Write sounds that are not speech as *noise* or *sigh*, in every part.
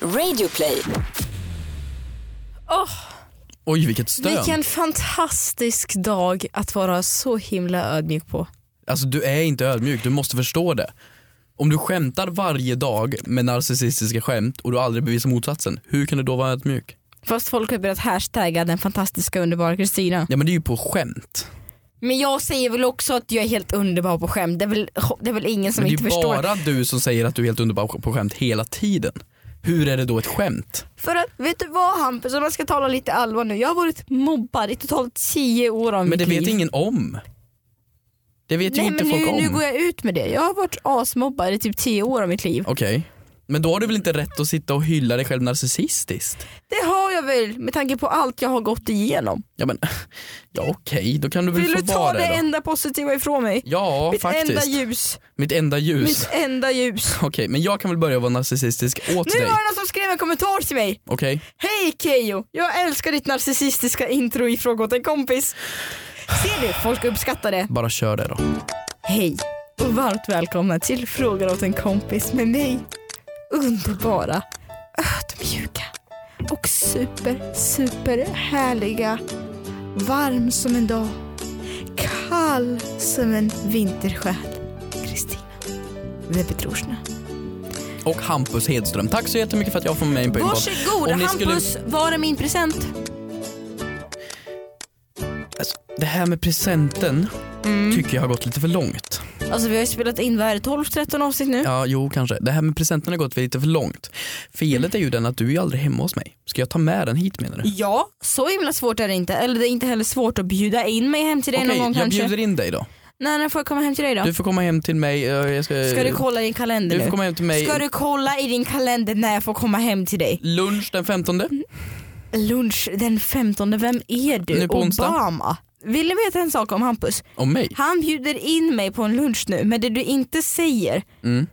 Radioplay. Åh, Oj, vilket stön. vilken fantastisk dag att vara så himla ödmjuk på. Alltså du är inte ödmjuk, du måste förstå det. Om du skämtar varje dag med narcissistiska skämt och du aldrig bevisar motsatsen, hur kan du då vara ödmjuk? Fast folk har börjat hashtagga den fantastiska underbara Kristina. Ja men det är ju på skämt. Men jag säger väl också att jag är helt underbar på skämt. Det är väl, det är väl ingen som Men det inte är förstår. bara du som säger att du är helt underbar på skämt hela tiden. Hur är det då ett skämt? För att, vet du vad Hampus, om man ska tala lite allvar nu. Jag har varit mobbad i totalt 10 år av Men mitt det vet liv. ingen om. Det vet ju Nej inte men folk nu, om. nu går jag ut med det. Jag har varit asmobbad i typ 10 år av mitt liv. Okej. Men då har du väl inte rätt att sitta och hylla dig själv narcissistiskt? Det har jag väl med tanke på allt jag har gått igenom. Ja men, *laughs* ja okej, då kan du väl Vill få du ta vara det då. enda positiva ifrån mig? Ja mitt faktiskt. enda ljus. Mitt enda ljus. Mitt enda ljus. Okej, men jag kan väl börja vara narcissistisk åt Nu dig? var det någon som skrev en kommentar till mig. Okej? Hej Keyyo, jag älskar ditt narcissistiska intro i Fråga åt en kompis. Ser du, folk uppskattar det. Bara kör det då. Hej och varmt välkomna till Fråga åt en kompis med mig. Underbara, ödmjuka och super, super härliga. Varm som en dag, kall som en vintersjäl. Kristina Webbetrorsna. Och Hampus Hedström, tack så jättemycket för att jag får med mig på en podd. Varsågod Om ni skulle- Hampus, var är min present? Alltså, det här med presenten Mm. tycker jag har gått lite för långt. Alltså vi har ju spelat in, vad är det, 12-13 avsnitt nu? Ja, jo kanske. Det här med presenten har gått för lite för långt. Felet är ju den att du är ju aldrig hemma hos mig. Ska jag ta med den hit menar du? Ja, så himla svårt är det inte. Eller det är inte heller svårt att bjuda in mig hem till dig Okej, någon gång jag kanske. bjuder in dig då. När, när får jag komma hem till dig då? Du får komma hem till mig. eh, Jag ska, Ska du kolla i din kalender Du får nu? komma hem till mig. Ska du kolla i din kalender när jag får komma hem till dig? Lunch den 15. Mm. Lunch den 15, vem är du? Nu på onsdag. Obama? Vill ni veta en sak om Hampus? Om mig. Han bjuder in mig på en lunch nu, men det du inte säger, Mm.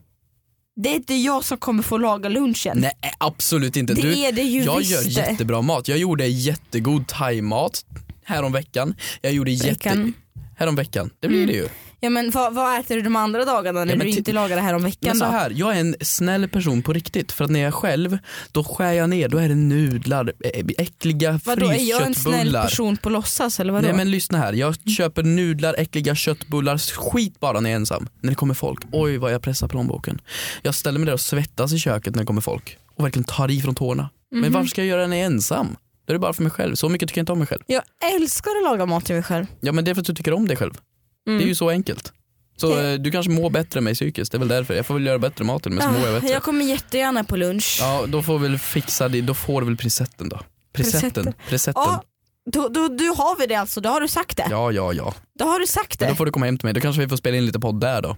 det är inte jag som kommer få laga lunchen. Nej absolut inte. Mm. Det du, är det ju Jag visst gör det. jättebra mat. Jag gjorde jättegod thaimat häromveckan. Jag gjorde jätte... Veckan. Mm. Häromveckan. Det blir det ju. Ja, men vad, vad äter du de andra dagarna när Ja, men du ti- inte lagar det här om veckan Men alltså, så då? här, jag är en snäll person på riktigt för att när jag är själv då skär jag ner, då är det nudlar, ä- äckliga Vadå, är jag en snäll frysköttbullar. person på låtsas eller vadå? Nej men lyssna här, jag köper nudlar, äckliga köttbullar, skit bara när jag är ensam. När det kommer folk, oj vad jag pressar plånboken. Jag ställer mig där och svettas i köket när det kommer folk och verkligen tar i från tårna. Men Mhm. varför ska jag göra det när jag är ensam? Då är det bara för mig själv, så mycket tycker jag inte om mig själv. Jag älskar att laga mat till mig själv. Ja men det är för att du tycker om dig själv. Mm. Det är ju så enkelt. Så Det- eh, du kanske mår bättre än mig psykiskt, det är väl därför. Jag får väl göra bättre mat till dig, men så mår jag Ah, bättre. jag kommer jättegärna på lunch. Ja då får vi väl fixa det, då får du väl prisetten då. Prisetten, prisetten. Ja, då, då, då har vi det alltså, då har du sagt det. Ja ja ja. Då har du sagt Men det. då får du komma hem till mig, då kanske vi får spela in lite podd där då.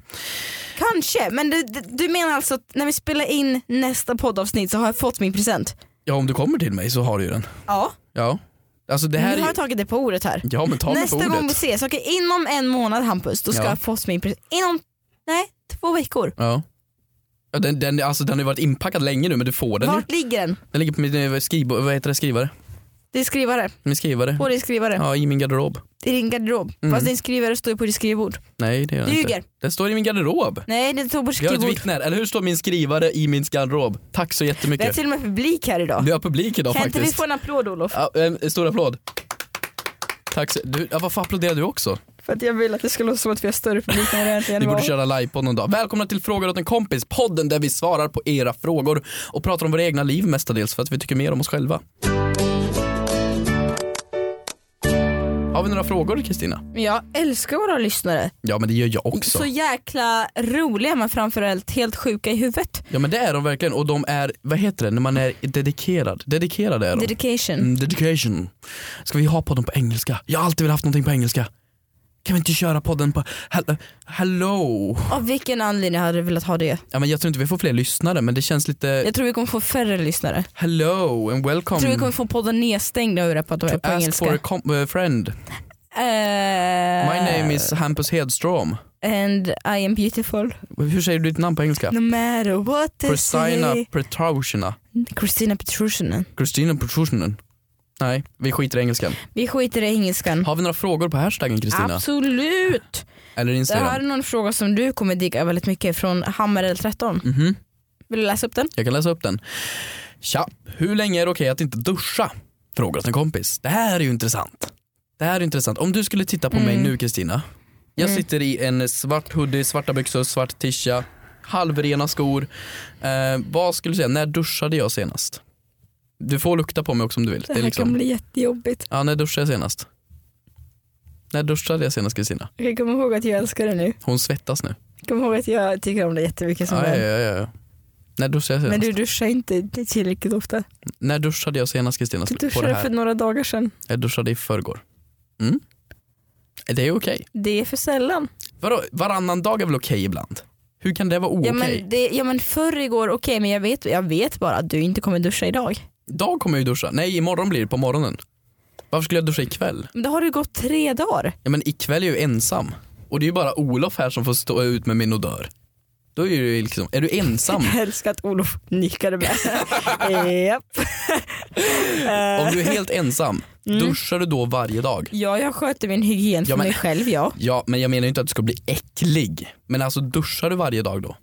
Kanske, men du, du- du menar alltså att när vi spelar in nästa poddavsnitt så har jag fått min present? Ja om du kommer till mig så har du ju den. Ja, Ja. Alltså det nu här har är jag tagit det på ordet här. Ja men ta mig på Nästa gång vi ordet. ses, okej inom en månad Hampus, då ska Ja. jag ha fått min present. Inom, nej, två veckor. Ja. Ja, den, den, alltså, den har ju varit inpackad länge nu men du får den ju. Vart ligger den? Den ligger på min eh, skrivbo- vad heter det, skrivare. Det är skrivare, Min skrivare. på din skrivare. Ja i min garderob. I din garderob. Mm. Fast din skrivare står ju på ditt skrivbord. Nej det gör den Du inte. ljuger. Den står i min garderob. Nej, det står på Vi har ett skrivbord. vittne här, eller hur står min skrivare i min garderob? Tack så Vi har jättemycket. till och med publik här idag. Vi har publik idag kan faktiskt. inte vi få en applåd Olof? Ja, en stor applåd. Tack så, du, ja, varför applåderar du också? För att jag vill att det ska låta som att vi har större publik än vad det Vi egentligen borde köra livepodd någon dag. Välkomna till Frågor åt en kompis, podden där vi svarar på era frågor och pratar om våra egna liv mestadels för att vi tycker mer om oss själva. Har vi några frågor Kristina? Men jag älskar våra lyssnare. Ja men det gör jag också. Så jäkla roliga men framförallt helt sjuka i huvudet. Ja men det är de verkligen och de är, vad heter det, när man är dedikerad. Dedikerade är de. Dedication. Mm, dedication. Ska vi ha podden på engelska? Jag har alltid velat haft någonting på engelska. Kan vi inte köra podden på hel- hello? Av vilken anledning hade du velat ha det? Ja, men jag tror inte vi får fler lyssnare men det känns lite Jag tror vi kommer få färre lyssnare. hello and welcome Jag tror vi kommer få podden nedstängd av att to på Mm. ask engelska. Eh, for a com- eh, friend. My name is Hampus Hedström. And I am beautiful. Hur säger du ditt namn på engelska? No matter what they Christina say. Petrushina. Christina Petrushinen. Christina Petrushinen. Nej, vi skiter i engelskan. Vi skiter i engelskan. Har vi några frågor på hashtaggen Kristina? Absolut! Det Eller här är Instagram? någon fråga som du kommer digga väldigt mycket från Hammarel 13. Mhm. Vill du läsa upp den? Jag kan läsa upp den. Tja, hur länge är det okej att inte duscha? Frågat en kompis. Det här är ju intressant. Det här är intressant. Om du skulle titta på Mm. mig nu Kristina. Jag sitter i en svart hoodie, svarta byxor, svart tisha, halvrena skor. Eh, vad skulle du säga, när duschade jag senast? Du får lukta på mig också om du vill. Det är här liksom- kan bli jättejobbigt. Ja, när duschade jag senast? När duschade jag senast Kristina? Okej, kom ihåg att jag älskar det nu. Hon svettas nu. Kom ihåg att jag tycker om det jättemycket som Ja, ja, vän. ja, ja. När duschade jag senast? Men du duschar inte tillräckligt ofta. När duschade jag senast Kristina? Du På det duschade här. för några dagar sedan. Jag duschade i förrgår. Mm. Det är okej. Det är för sällan. Vadå, varannan dag är väl okej ibland? Hur kan det vara Ja, okej? men det, ja men förr igår, okej men jag vet, jag vet bara att du inte kommer duscha idag. Dag kommer jag ju duscha. Nej, imorgon blir det på morgonen. Varför skulle jag duscha ikväll? Men då har det gått tre dagar. Ja, men ikväll är jag ju ensam. Och det är ju bara Olof här som får stå ut med min odör. Då är du ju liksom, är du ensam? Jag älskar att Olof nickade *laughs* med. Japp. Om du är *laughs* helt ensam, Mm. duschar du då varje dag? Ja, jag sköter min hygien för Ja, men- mig själv ja. Ja, men jag menar ju inte att du ska bli äcklig. Men alltså duschar du varje dag då?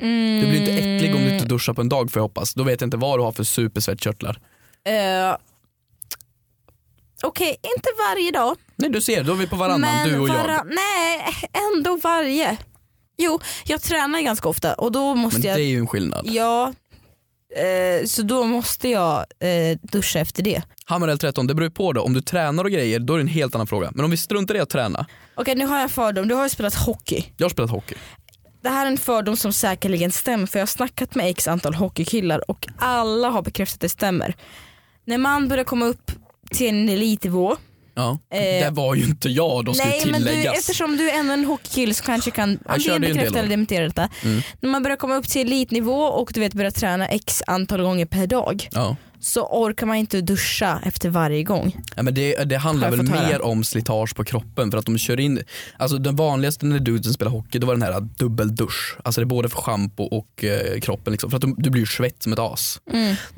Du blir inte äcklig om du Mm. inte duschar på en dag får jag hoppas. Då vet jag inte vad du har för supersvettkörtlar. Eh, Okej, inte varje dag. Nej du ser, då är vi på varannan, men du och jag. varann- Nej, ändå varje. Jo, jag tränar ganska ofta och då måste Men det jag... är ju en skillnad. Ja, eh, så då måste jag eh, duscha efter det. Hammarell 13, det beror ju på då. Om du tränar och grejer, då är det en helt annan fråga. Men om vi struntar i att träna. Okej nu har jag en fördom, du har ju spelat hockey. Jag har spelat hockey. Det här är en fördom som säkerligen stämmer för jag har snackat med x antal hockeykillar och alla har bekräftat att det stämmer. När man börjar komma upp till en elitnivå. Ja. Det var ju inte jag då, ska ju Eh, nej men du, tilläggas. eftersom du är ändå en hockeykille så kanske kan antingen körde ju en del bekräfta då. Mm. eller dementera detta. När man börjar komma upp till elitnivå och du vet börjar träna x antal gånger per dag Ja. så orkar man inte duscha efter varje gång. Ja, men det, det handlar Har jag väl fått höra. mer om slitage på kroppen för att de kör in, alltså den vanligaste när duden spelar hockey då var den här dubbeldusch. Alltså det är både för schampo och eh, kroppen liksom. För att du, du blir ju svett som ett as.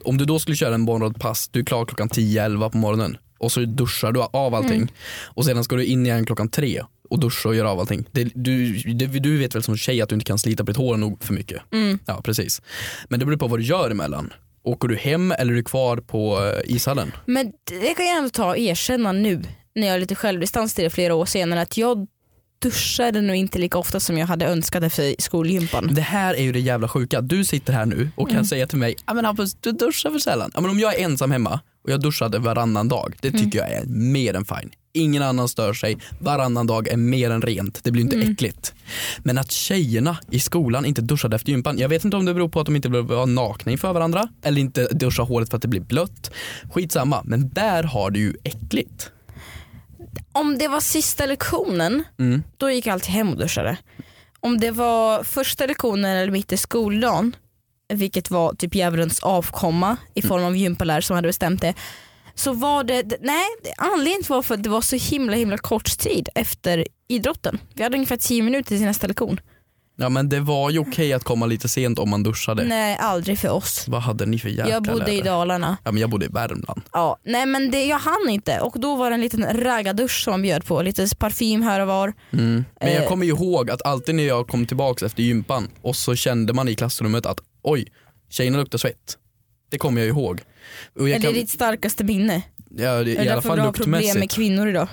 Om du då skulle köra en morgonpass, du är klar klockan 10-11 på morgonen och så duschar du av allting och sedan ska du in igen klockan 3 och duscha och göra av allting. Det, du, det, du vet väl som tjej att du inte kan slita på ditt hår nog för mycket. Mm. Ja precis. Men det beror på vad du gör emellan. Åker du hem eller är du kvar på eh, ishallen? Men det kan jag ändå ta och erkänna nu när jag är lite självdistans till det flera år senare att jag duschade nog inte lika ofta som jag hade önskat efter skolgympan. Det här är ju det jävla sjuka. Du sitter här nu och Mm. kan säga till mig, "Ja, men Hampus du duschar för sällan. Ja, men om jag är ensam hemma och jag duschade varannan dag, Mm. det tycker jag är mer än fine. Ingen annan stör sig, varannan dag är mer än rent, det blir inte Mm. äckligt. Men att tjejerna i skolan inte duschade efter gympan, jag vet inte om det beror på att de inte vill vara nakna inför varandra eller inte duscha håret för att det blir blött. Skitsamma, men där har du ju äckligt. Om det var sista lektionen Mm. då gick jag alltid hem och duschade. Om det var första lektionen eller mitt i skoldagen vilket var typ djävulens avkomma i Mm. form av gympalärare som hade bestämt det så var det, d- nej anledningen var för att det var så himla himla kort tid efter idrotten. Vi hade ungefär 10 minuter till nästa lektion. Ja men det var ju okej att komma lite sent om man duschade. Nej aldrig för oss. Vad hade ni för jäkla jag bodde i lärare? Dalarna. Ja, men jag bodde i Värmland. Ja, nej men det, jag hann inte och då var det en liten raggardusch som man bjöd på, lite parfym här och var. Men jag Eh. kommer ju ihåg att alltid när jag kom tillbaks efter gympan och så kände man i klassrummet att oj, tjejerna luktar svett. Det kommer jag ihåg. Och Är jag det kan, ditt starkaste minne? ja, det- Är I det alla därför fall du har problem med luktmässigt. kvinnor idag?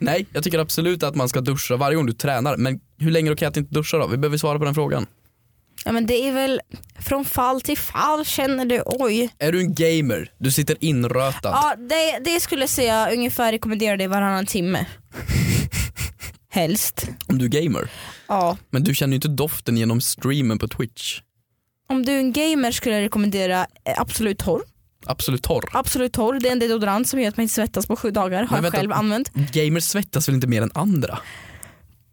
Nej, jag tycker absolut att man ska duscha varje gång du tränar. Men hur länge är det okej att inte duscha då? Vi behöver svara på den frågan. Ja men det är väl från fall till fall känner du oj. Är du en gamer? Du sitter inrötad. Ja det, det skulle jag säga ungefär rekommenderar det varannan timme. *laughs* Helst. Om du är gamer. Ja. Men du känner ju inte doften genom streamen på Twitch. Om du är en gamer skulle jag rekommendera eh, Absolut Torr. Absolut torr. Absolut Torr det är en deodorant som gör att man inte svettas på sju dagar. Men Har jag vänta. själv använt. Gamers svettas väl inte mer än andra?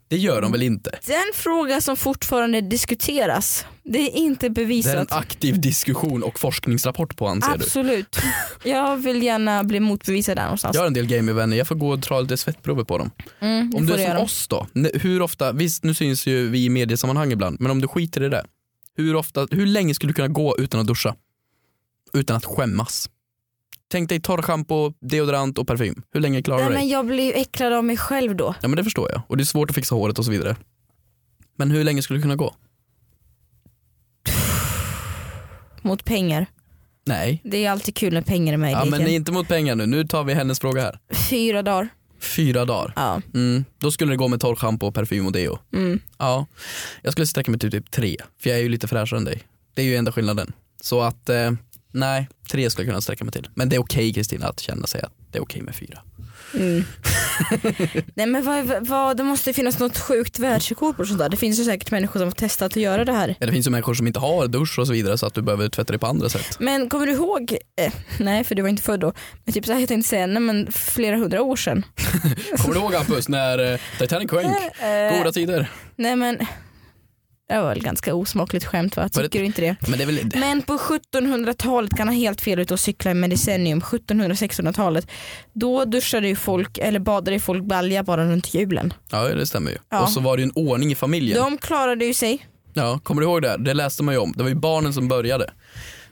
Det gör de väl inte? Den fråga som fortfarande diskuteras, det är inte Det är en bevisat. aktiv diskussion och forskningsrapport på anser du? *laughs* Absolut. Jag vill gärna bli motbevisad där någonstans. Jag har en del gamervänner, jag får gå och dra lite svettprover på dem. Mm, det Om du får är som göra. oss då, ne- hur ofta, visst nu syns ju vi i mediesammanhang ibland, men om du skiter i det, hur, ofta, hur länge skulle du kunna gå utan att duscha? Utan att skämmas? Tänk dig torrschampo, deodorant och parfym. Hur länge klarar Nej, du dig? men jag blir ju äcklad av mig själv då. Ja men det förstår jag, och det är svårt att fixa håret och så vidare. Men hur länge skulle du kunna gå? mot pengar. Nej. Det är alltid kul när pengar är med i Ja, leken. men det är inte mot pengar nu, nu tar vi hennes fråga här. Fyra dagar. Fyra dagar. Ja. Mm. Då skulle det gå med torrschampo, parfym och deo. Mm. Ja, jag skulle sträcka mig till typ tre, för jag är ju lite fräschare än dig. Det är ju enda skillnaden. Så att, eh, nej, tre skulle jag kunna sträcka mig till. Men det är okej Kristina att känna sig att det är okej med fyra. *laughs* Mm. Nej men vad, vad, det måste finnas något sjukt världsrekord på sånt där. Det finns ju säkert människor som har testat att göra det här. Ja, det finns ju människor som inte har dusch och så vidare så att du behöver tvätta dig på *laughs* andra sätt. Men kommer du ihåg, eh, nej för du var inte född då, men typ så här, jag tänkte säga, nej men flera hundra år sedan. Kommer du ihåg Hampus när eh, Titanic sjönk? Eh, Goda tider. nej men, det var väl ganska osmakligt skämt va? Var det- Tycker du inte det? Men det är väl, Men på 1700-talet kan ha helt fel ut och cykla i medicennium, 1700-1600-talet. Då duschade ju folk, eller badade ju folk balja bara runt julen. ja det stämmer ju. Ja. Och så var det ju en ordning i familjen. De klarade ju sig. Ja, kommer du ihåg det? här? Det läste man ju om. Det var ju barnen som började.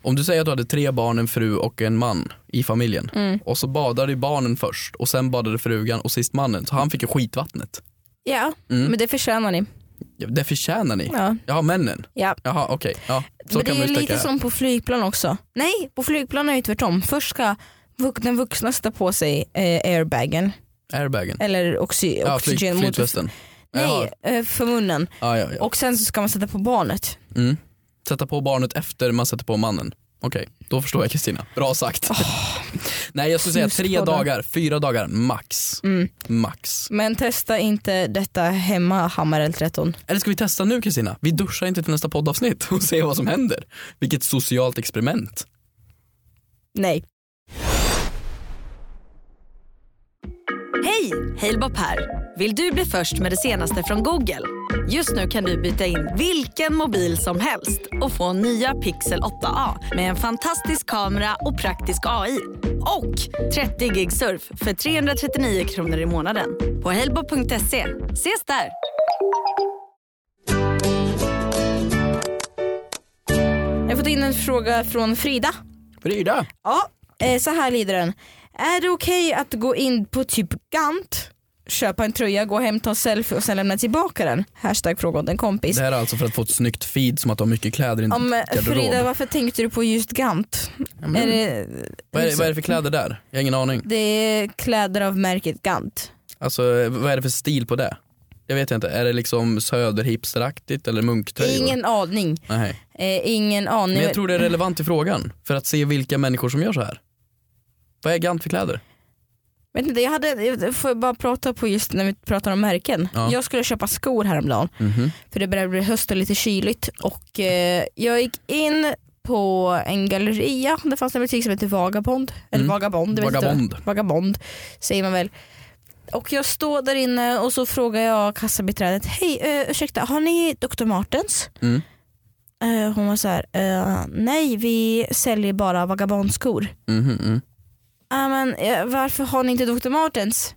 Om du säger att du hade tre barn, en fru och en man i familjen. Mm. Och så badade ju barnen först och sen badade frugan och sist mannen. Så han fick ju skitvattnet. Ja, Mm. men det förtjänar ni. Ja, Det förtjänar ni. Ja. Jaha, männen. Ja. Jaha, okej. Ja, så Men det kan man är ju lite sträcka här. som på flygplan också. Nej, på flygplan är det ju tvärtom. Först ska vux- den vuxna sätta på sig eh, airbagen Airbagen. eller oxy, Ja, flyg, oxygen mot, flytvästen. nej, Jaha. eh, för munnen Ja, ja, ja. och sen så ska man sätta på barnet. Mm. Sätta på barnet efter man sätter på mannen. Okej, då förstår jag Kristina. Bra sagt. *laughs* Nej, jag skulle säga tre Snuspodden. dagar, fyra dagar max. Mm. Max. Men testa inte detta hemma Hammarel 13. Eller ska vi testa nu Kristina? Vi duschar inte till nästa poddavsnitt och ser vad som händer. Vilket socialt experiment. Nej. Hej! Halebop här. Vill du bli först med det senaste från Google? Just nu kan du byta in vilken mobil som helst och få nya Pixel 8A med en fantastisk kamera och praktisk AI. Och 30 gig surf för 339 kronor i månaden på halebop.se. Ses där! Jag har fått in en fråga från Frida. Frida! Ja, eh, så här lyder den. Är det okej att gå in på typ Gant, köpa en tröja, gå hem, ta en selfie och sen lämna tillbaka den? Hashtag fråga åt en kompis. Det här är alltså för att få ett snyggt feed som att du har mycket kläder i din Om, eh, garderob. Frida, varför tänkte du på just Gant? Mm. Är det, vad, är, det- vad är det för kläder där? Jag har ingen aning. det är kläder av märket Gant. Alltså vad är det för stil på det? Jag vet inte, är det liksom söderhipsteraktigt eller munktröjor? Ingen aning. Nej. Eh, ingen aning. Men jag tror det är relevant i frågan för att se vilka människor som gör så här. Vad är Gant för kläder? Vet inte, jag hade, jag får jag bara prata på just när vi pratar om märken. Ja. Jag skulle köpa skor häromdagen Mhm. för det började bli höst och lite kyligt och eh, jag gick in på en galleria, det fanns en butik som hette Vagabond, eller Mm. Vagabond, jag vet inte vad- Vagabond. Vagabond säger man väl. Och jag står där inne och så frågar jag kassabiträdet, hej eh, ursäkta har ni Dr. Martens? Mm. Eh, hon var så här, eh, nej vi säljer bara vagabondskor. Mhm, mm. Ja, men, eh, varför har ni inte Dr. Martens?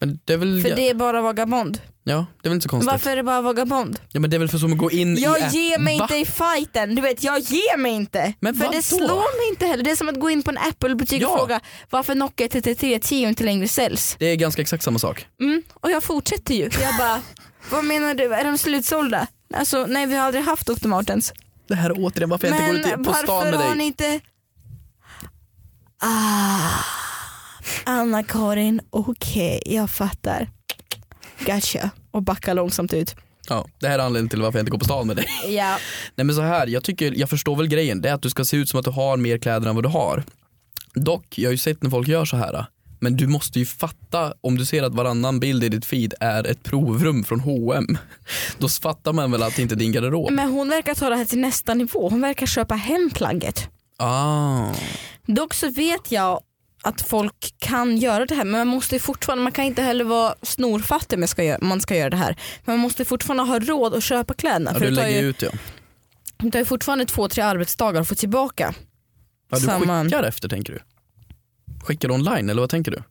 Men det är väl, För det är bara vagabond. ja, det är väl inte så konstigt. Varför är det bara vagabond? Ja, men det är väl för som att gå in i Jag app- ger mig Va? inte i fighten, du vet jag ger mig inte. Men För vadå? det slår mig inte heller. Det är som att gå in på en Apple-butik Ja. och fråga varför Nokia 3310 inte längre säljs. Det är ganska exakt samma sak. Mm. Och jag fortsätter ju. Jag bara, *laughs* vad menar du? Är de slutsålda? Alltså nej vi har aldrig haft Dr. Martens. Det här är återigen varför jag Men inte går ut på stan varför med har dig. ni inte... Ah, Anna-Karin, okej jag fattar. Gotcha. Och backar långsamt ut. Ja, det här är anledningen till varför jag inte går på stan med dig. *laughs* Ja. Nej men så här, jag, tycker, jag förstår väl grejen. Det är att du ska se ut som att du har mer kläder än vad du har. Dock, jag har ju sett när folk gör så här. Men du måste ju fatta, om du ser att varannan bild i ditt feed är ett provrum från H&M *laughs* Då fattar man väl att det inte är din garderob. Men hon verkar ta det här till nästa nivå. Hon verkar köpa hem plagget. Ah. Dock så vet jag att folk kan göra det här men man måste ju fortfarande, man kan inte heller vara snorfattig om man ska göra, man ska göra det här. Men man måste fortfarande ha råd att köpa kläderna. Ja, för du det tar lägger ju, ut ja. det tar ju fortfarande två, tre arbetsdagar att få tillbaka. ja du samma- skickar efter tänker du? Skickar du online eller vad tänker du?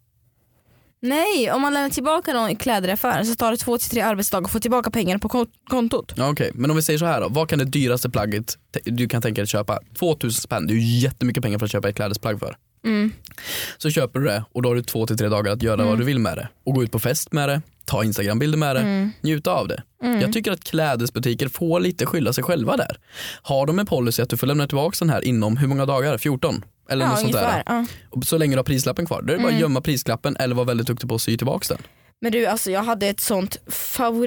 Nej, om man lämnar tillbaka någon i kläderaffären så tar det två till tre arbetsdagar att få tillbaka pengarna på kon- kontot. Ja, Okej, men om vi säger så här då. Vad kan det dyraste plagget te- du kan tänka dig att köpa? 2000 spänn, det är ju jättemycket pengar för att köpa ett klädesplagg för. Mm. Så köper du det och då har du två till tre dagar att göra vad du vill med det. Och gå ut på fest med det ta Instagram-bilder med det, Mm. njuta av det. Jag tycker att klädesbutiker får lite skylla sig själva där. Har de en policy att du får lämna tillbaka den här inom hur många dagar? 14? Eller något Ja, sånt där. ungefär. Mm. Ja. Och så länge du har prislappen kvar, då är det bara att gömma prislappen eller vara väldigt duktig på att sy tillbaka den. Men du, alltså jag hade ett sånt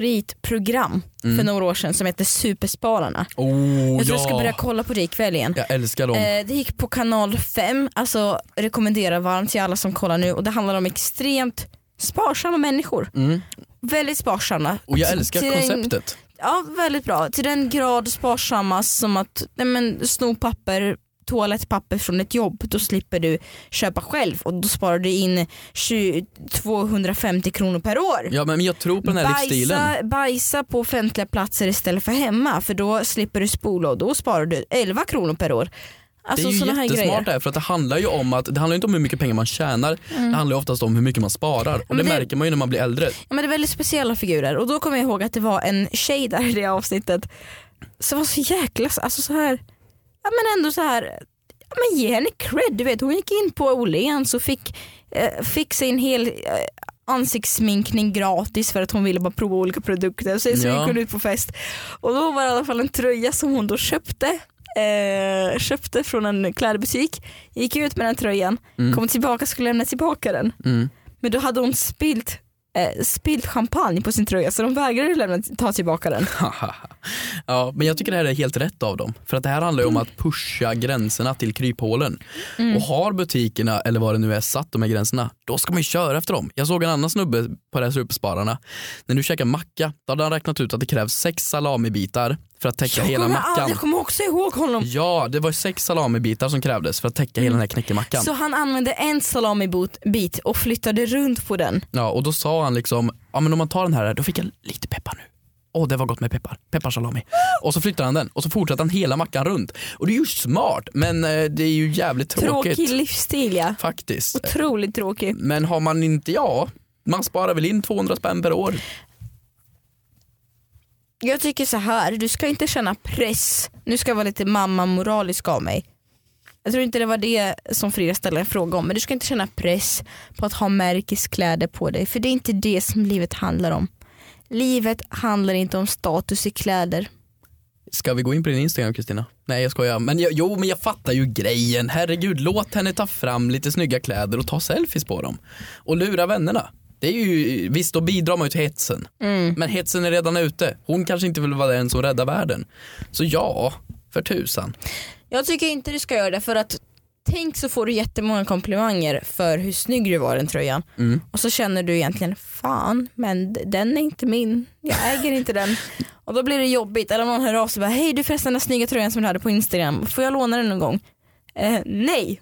favoritprogram för Mm. några år sedan som hette Superspararna. Oh, Jag tror ja. jag ska börja kolla på det ikväll igen. jag älskar dem. Eh, det gick på kanal 5, alltså rekommenderar varmt till alla som kollar nu och det handlar om extremt sparsamma människor. Mm. Väldigt sparsamma. Och jag Till- älskar till den- konceptet. Ja, väldigt bra. Till den grad sparsamma som att nej men, sno papper, toalettpapper från ett jobb, då slipper du köpa själv och då sparar du in 20, 250 kronor per år. Ja, men jag tror på den här livsstilen. Bajsa, bajsa på offentliga platser istället för hemma för då slipper du spola och då sparar du 11 kronor per år. Det Alltså är ju sådana här grejer. jättesmart det här för att det handlar ju om att det handlar ju inte om hur mycket pengar man tjänar. Det handlar ju oftast om hur mycket man sparar och Mm. men det, det- märker man ju när man blir äldre. *laughs* Ja, men det är väldigt speciella figurer och då kommer jag ihåg att det var en tjej där i det avsnittet som var så jäkla, alltså så här, ja men ändå så här, ja, men ge henne cred du vet hon gick in på Åhléns och fick, eh, fick sig en hel eh, ansiktssminkning gratis för att hon ville bara prova olika produkter. Sen så Ja. gick hon ut på fest och då var det i alla fall en tröja som hon då köpte Eh, köpte från en klädbutik, gick ut med den tröjan, Mm. kom tillbaka och skulle lämna tillbaka den. Mm. Men då hade hon spilt, eh, spilt champagne på sin tröja så de vägrade lämna, ta tillbaka den. ja, men jag tycker det här är helt rätt av dem. För att det här handlar ju om att pusha gränserna till kryphålen. Mm. Och har butikerna, eller vad det nu är, satt de här gränserna, då ska man ju köra efter dem. Jag såg en annan snubbe på det här Superspararna. När du käkar macka, då hade han räknat ut att det krävs sex salamibitar för att täcka hela kommer mackan. aldrig- jag kommer också ihåg honom. Ja, det var sex salamibitar som krävdes för att täcka hela den här knäckemackan. Så han använde en salamibit bit och flyttade runt på den. Ja, och då sa han liksom, ja men om man tar den här, då fick jag lite peppar nu. Åh, det var gott med peppar. Pepparsalami. Och så flyttar han den och så fortsätter han hela mackan runt. Och det är ju smart, men eh, det är ju jävligt tråkigt. Tråkig livsstil ja. Faktiskt. Otroligt tråkig. Men har man inte, ja, man sparar väl in 200 spänn per år. Jag tycker så här, du ska inte känna press. Nu ska jag vara lite mamma-moralisk av mig. Jag tror inte det var det som Frida ställde en fråga om. Men du ska inte känna press på att ha märkeskläder på dig. För det är inte det som livet handlar om. Livet handlar inte om status i kläder. Ska vi gå in på din Instagram Kristina? Nej jag skojar. Men jag, jo men jag fattar ju grejen. Herregud låt henne ta fram lite snygga kläder och ta selfies på dem. Och lura vännerna. Det är ju, visst då bidrar man ju till hetsen. Men hetsen är redan ute. Hon kanske inte vill vara den som räddar världen. Så ja, för tusan. Jag tycker inte du ska göra det för att tänk så får du jättemånga komplimanger för hur snygg du var i den tröjan. Mm. Och så känner du egentligen fan men d- den är inte min, jag äger inte *laughs* den. Och då blir det jobbigt eller om någon hör av sig och bara hej du förresten den snygga tröjan som du hade på Instagram, får jag låna den någon gång? Eh, nej,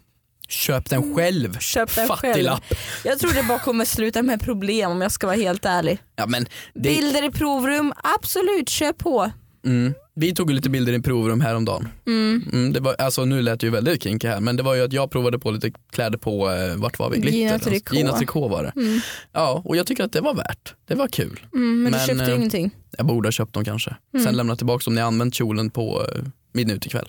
Köp den själv. Köp den själv. Fattiglapp. jag tror det bara kommer sluta med problem om jag ska vara helt ärlig. Ja, men det, Bilder i provrum, absolut kör på. Mm. Vi tog ju lite bilder i provrum häromdagen. Mm. det var, alltså, nu lät det ju väldigt kinky här men det var ju att jag provade på lite kläder på, eh, vart var vi? Glitter? Gina eller något. Tricot. Gina Tricot var det. Ja, och jag tycker att det var värt. Det var kul. Mm, men, Men, du köpte Mm. eh, ingenting. Jag borde ha köpt dem kanske. Sen lämnat tillbaka dem när jag använt kjolen på eh, midnatt ikväll.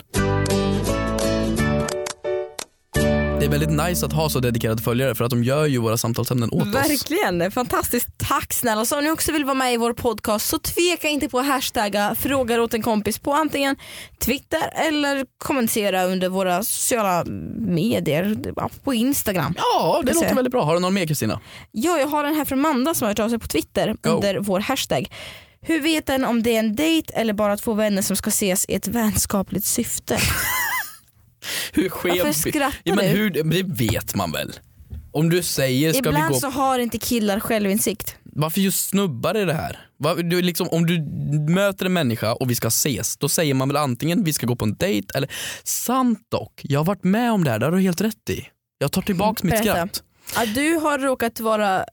Det är väldigt nice att ha så dedikerade följare för att de gör ju våra samtalsämnen åt oss. Verkligen, fantastiskt. Tack snälla. Så om ni också vill vara med i vår podcast så tveka inte på att hashtagga frågar åt en kompis på antingen Twitter eller kommentera under våra sociala medier ja, på Instagram. Ja, det Ska låter se. väldigt bra. Har du någon mer Kristina? Ja, jag har den här från Amanda som har hört av sig på Twitter Go. under vår hashtag. Hur vet den om det är en dejt eller bara två vänner som ska ses i ett vänskapligt syfte? Hur skev Varför bi- skrattar ja, men du? hur, Det vet man väl? Om du säger ska vi Ibland gå så har inte killar självinsikt. Varför just snubbar i det här? Va- Du, liksom, om du möter en människa och vi ska ses, då säger man väl antingen vi ska gå på en dejt eller... Sant dock, jag har varit med om det här, det har du helt rätt i. Jag tar tillbaks mitt Berätta. skratt. Ja, du har råkat vara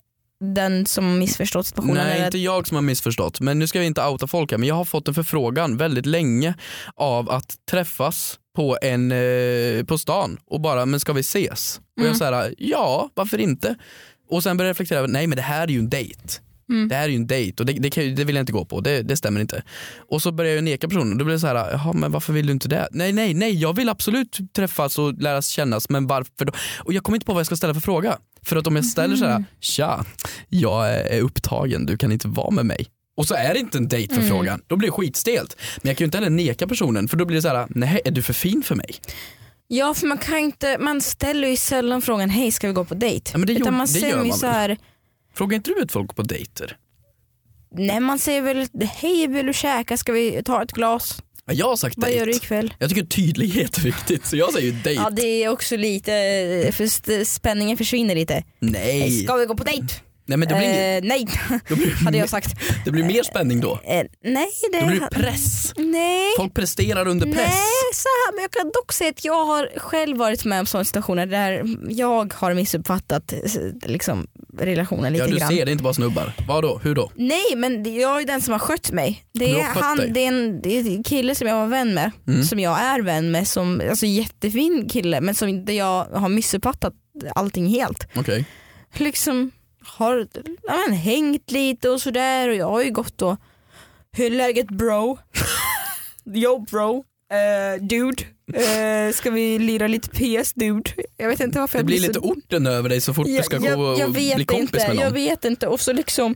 den som missförstått situationen. Nej, eller inte jag som har missförstått. Men nu ska vi inte outa folk här, men jag har fått en förfrågan väldigt länge av att träffas på, en, eh, på stan och bara, men ska vi ses? Och jag säger ja, varför inte? Och sen börjar jag reflektera, över, nej men det här är ju en dejt. Mm. Det här är ju en dejt och det, det, kan, ju- det vill jag inte gå på, det, det stämmer inte. Och så börjar jag neka personen och då blir det så här, jaha men varför vill du inte det? Nej nej nej, jag vill absolut träffas och läras kännas men varför då? Och jag kommer inte på vad jag ska ställa för fråga. För att om jag ställer så Mm. här, tja, jag är upptagen, du kan inte vara med mig. Och så är det inte en Mm. dejtförfrågan, då blir det skitstelt. Men jag kan ju inte heller neka personen för då blir det så här, nej är du för fin för mig? Ja för man kan inte, man ställer ju sällan frågan hej ska vi gå på dejt? Ja, men det gör- Utan man det säger gör ju man så väl. här, Frågar inte du ut folk på dejter? nej man säger väl hej vill du käka, ska vi ta ett glas? Ja, Jag har sagt Vad gör du dejt. ikväll? Jag tycker tydlighet är viktigt så jag säger ju dejt. Ja det är också lite, för st- spänningen försvinner lite. Nej. Ska vi gå på dejt? nej men det blir, inget- Eh, nej då blir, *laughs* hade jag sagt. det blir mer spänning då. Eh, nej det Då blir det press. Nej. Folk presterar under press. Nej, så här, men jag kan dock säga att jag har själv varit med om sådana situationer där jag har missuppfattat eh, liksom, relationen lite ja du grann. ser, det är inte bara snubbar. Vadå, hur då? Nej men det- jag är den som har skött mig. Du Det har är, skött dig. han, det är, en, det är en kille som jag var vän med, Mm. som jag är vän med, som, alltså jättefin kille men som där jag har missuppfattat allting helt. *laughs* Okej. Liksom har ja, men, hängt lite och sådär och jag har ju gått och Hur är läget bro? *laughs* Yo bro, Eh, dude, Eh, ska vi lira lite PS dude? Jag vet inte varför Det jag blir så lite orten över dig så fort du ska gå och bli kompis inte, med någon. Jag vet inte. Och så liksom,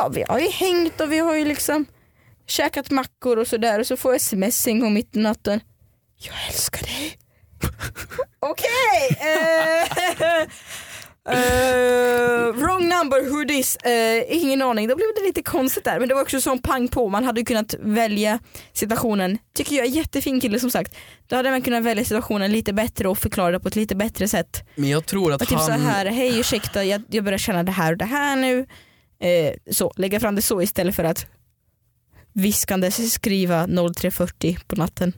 ja vi har ju hängt och vi har ju liksom käkat mackor och sådär och så får jag sms en gång mitt i natten. Jag älskar *laughs* dig. Okej! eh, *laughs* eh, wrong number, who this? Eh, ingen aning, då blev det lite konstigt där. Men det var också sån pang på, man hade ju kunnat välja situationen. Tycker jag är jättefin kille som sagt. Då hade man kunnat välja situationen lite bättre och förklara det på ett lite bättre sätt. Men jag tror att Och typ han... så här, hej ursäkta jag, jag börjar känna det här och det här nu. Eh, så, lägga fram det så istället för att viskande skriva 03.40 på natten.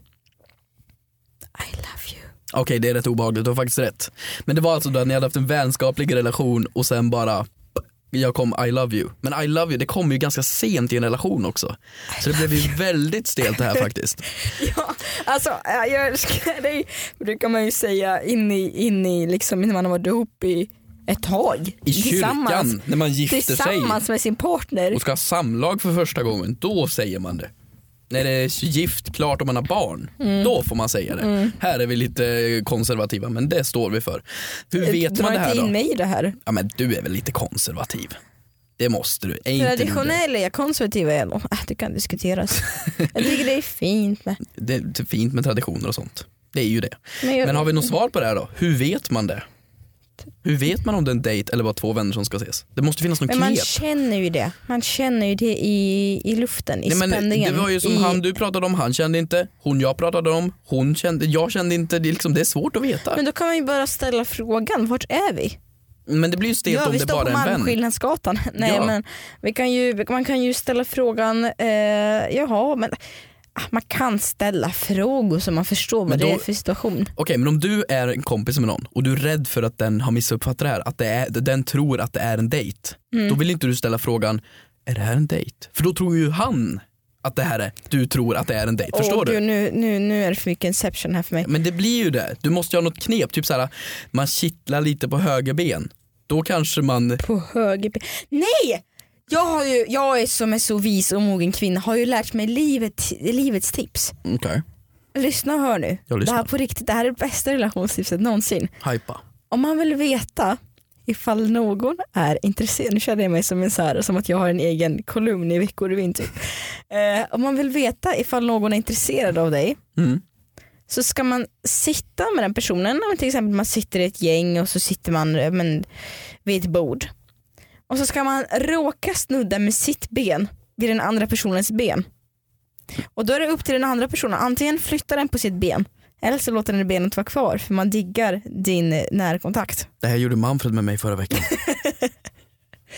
I love you. Okej det är rätt obehagligt, du har faktiskt rätt. Men det var alltså då ni hade haft en vänskaplig relation och sen bara jag kom I love you. Men I love you det kom ju ganska sent i en relation också. Så det blev ju väldigt *laughs* stelt det här faktiskt. *laughs* Ja, alltså eh, jag älskar dig brukar man ju säga in i, in i liksom när man har varit ihop i ett tag. I Tillsammans- kyrkan när man gifter sig Tillsammans med sin partner. och ska ha samlag för första gången, då säger man det. När det är gift, klart och man har barn, Mm. då får man säga det. Här är vi lite konservativa men det står vi för. Hur vet Dra man det inte här in då? mig i det här. Ja men du är väl lite konservativ? Det måste du. Är inte du det? Traditionell är jag, konservativ är jag nog. Äh, Det kan *laughs* diskuteras. jag tycker det är fint med. det är fint med traditioner och sånt. Det är ju det. Men jag- Men har vi något svar på det här då? Hur vet man det? Hur vet man om det är en dejt eller bara två vänner som ska ses? Det måste finnas någon Men man knep. känner ju det. Man känner ju det i, i luften, i Nej, men det spänningen. var ju som i, han du pratade om, han kände inte. Hon jag pratade om, hon kände, jag kände inte. Det är, liksom, det är svårt att veta. Men då kan man ju bara ställa frågan, vart är vi? Men, det blir ju stelt ja, om vi det bara står på är en vän. Malmskillnadsgatan. *laughs* Nej Ja. men vi kan ju, man kan ju ställa frågan, eh, jaha men ah, man kan ställa frågor så man förstår vad Men det då- är för situation. Okej men om du är en kompis med någon och du är rädd för att den har missuppfattat det här, att det är, den tror att det är en dejt. Mm. Då vill inte du ställa frågan, är det här en dejt? För då tror ju han att det här är, du tror att det är en dejt. Förstår Åh, du? gud, Nu, nu, nu är det för mycket inception här för mig. Men det blir ju det. Du måste ju ha något knep. Typ såhär, man kittlar lite på höger ben. Då kanske man... På höger ben. Nej! Jag, har ju, jag är som en så vis och mogen kvinna har ju lärt mig livet, livets tips. Okej. Okay. Lyssna och hör nu. Jag Det lyssnar. här på riktigt, det här är det bästa relationstipset någonsin. Hypa. Om man vill veta ifall någon är intresserad, nu känner jag mig som en så här, som att jag har en egen kolumn i veckor i vinter. Eh, om man vill veta ifall någon är intresserad av dig Mm. så ska man sitta med den personen, om till exempel man sitter i ett gäng och så sitter man eh, men, vid ett bord. Och så ska man råka snudda med sitt ben vid den andra personens ben. Och då är det upp till den andra personen, antingen flyttar den på sitt ben eller så låter den benet vara kvar för man diggar din eh, närkontakt. Det här gjorde Manfred med mig *laughs* förra veckan.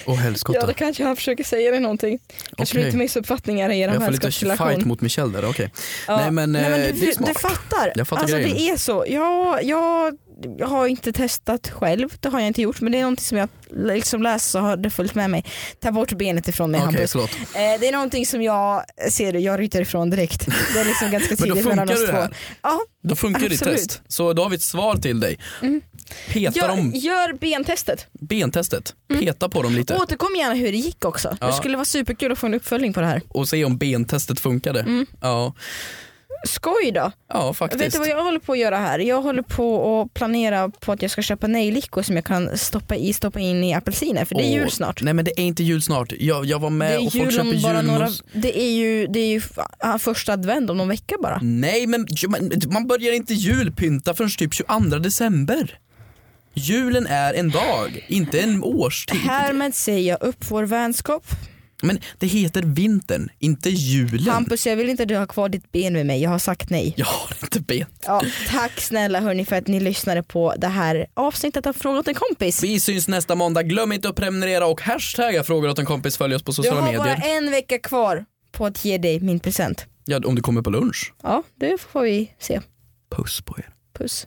Åh helskotta. kanske han försöker säga dig någonting. Kanske Okej. lite missuppfattningar i Jag får lite fight mot Michelle där, okej. Ja. Nej, men, eh, du, det är smart. du fattar. Jag fattar alltså, grejen. det är så. Jag, jag, jag har inte testat själv, det har jag inte gjort men det är någonting som jag liksom läst så har det följt med mig. Ta bort benet ifrån mig Okej Hampus. förlåt. Eh, det är någonting som jag ser, jag ryter ifrån direkt. Det är liksom ganska *laughs* Men då tidigt funkar mellan oss det två. här. Ja, Då funkar ditt Absolut. Mm. test. Så då har vi ett svar till dig. Peta gör, dem, gör bentestet. bentestet. Mm. Peta på dem lite Återkom gärna hur det gick också. Ja. Det skulle vara superkul att få en uppföljning på det här. och se om bentestet funkade. Ja. Skoj då. Ja faktiskt. Mm. Vet du vad jag håller på att göra här? Jag håller på att planera på att jag ska köpa nejlikor som jag kan stoppa, i, stoppa in i apelsiner för det är Åh, jul snart. Nej men det är inte jul snart. Jag, jag var Det med är, och folk jul köper om bara julmust. några, det är ju, det är ju f- ah, första advent om någon vecka bara. Nej men ju- man- man börjar inte julpynta förrän typ 22 december. Julen är en dag, inte en årstid. Härmed säger jag upp vår vänskap. Men det heter vintern, inte julen. Hampus jag vill inte att du har kvar ditt ben med mig, jag har sagt nej. Jag har inte ben. Ja, tack snälla hörni för att ni lyssnade på det här avsnittet av Fråga åt en kompis. Vi syns nästa måndag. Glöm inte att prenumerera och hashtagga frågor åt en kompis. Följ oss på Du sociala har medier. bara en vecka kvar på att ge dig min present. Ja, om du kommer på lunch. Ja, det får vi se. Puss på er. Puss.